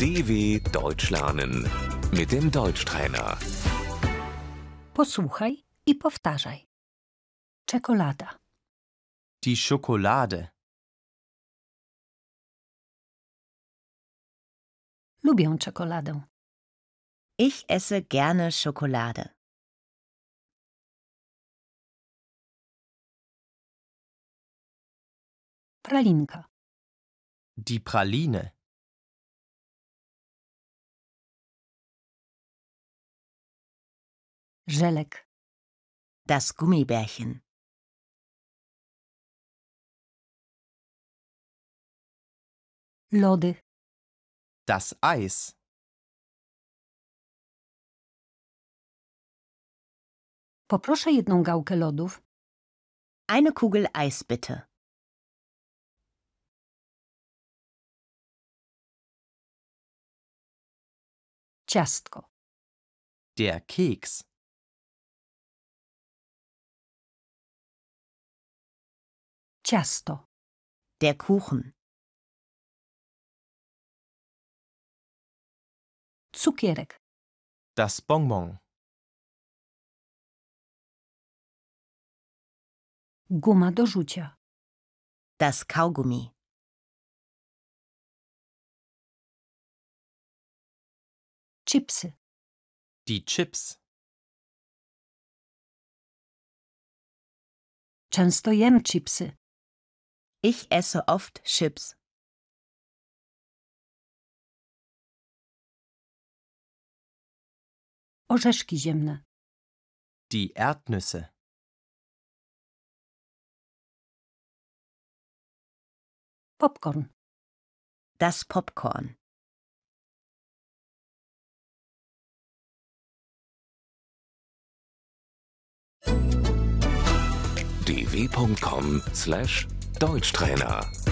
DW Deutsch lernen mit dem Deutschtrainer. Posłuchaj i powtarzaj. Czekolada, Die Schokolade. lubię czekoladę, Ich esse gerne Schokolade. pralinka, Die Praline. żelek, Das Gummibärchen. lody, Das Eis. Poproszę jedną gałkę lodów, Eine Kugel Eis bitte. ciastko, Der Keks. ciasto, Der Kuchen. cukierek, Das Bonbon. guma do rzucia, Das Kaugummi. chipsy, Die Chips. często jem chipsy, Ich esse oft Chips. orzeszki ziemne, Die Erdnüsse. popcorn, Das Popcorn. dw.com/deutschtrainer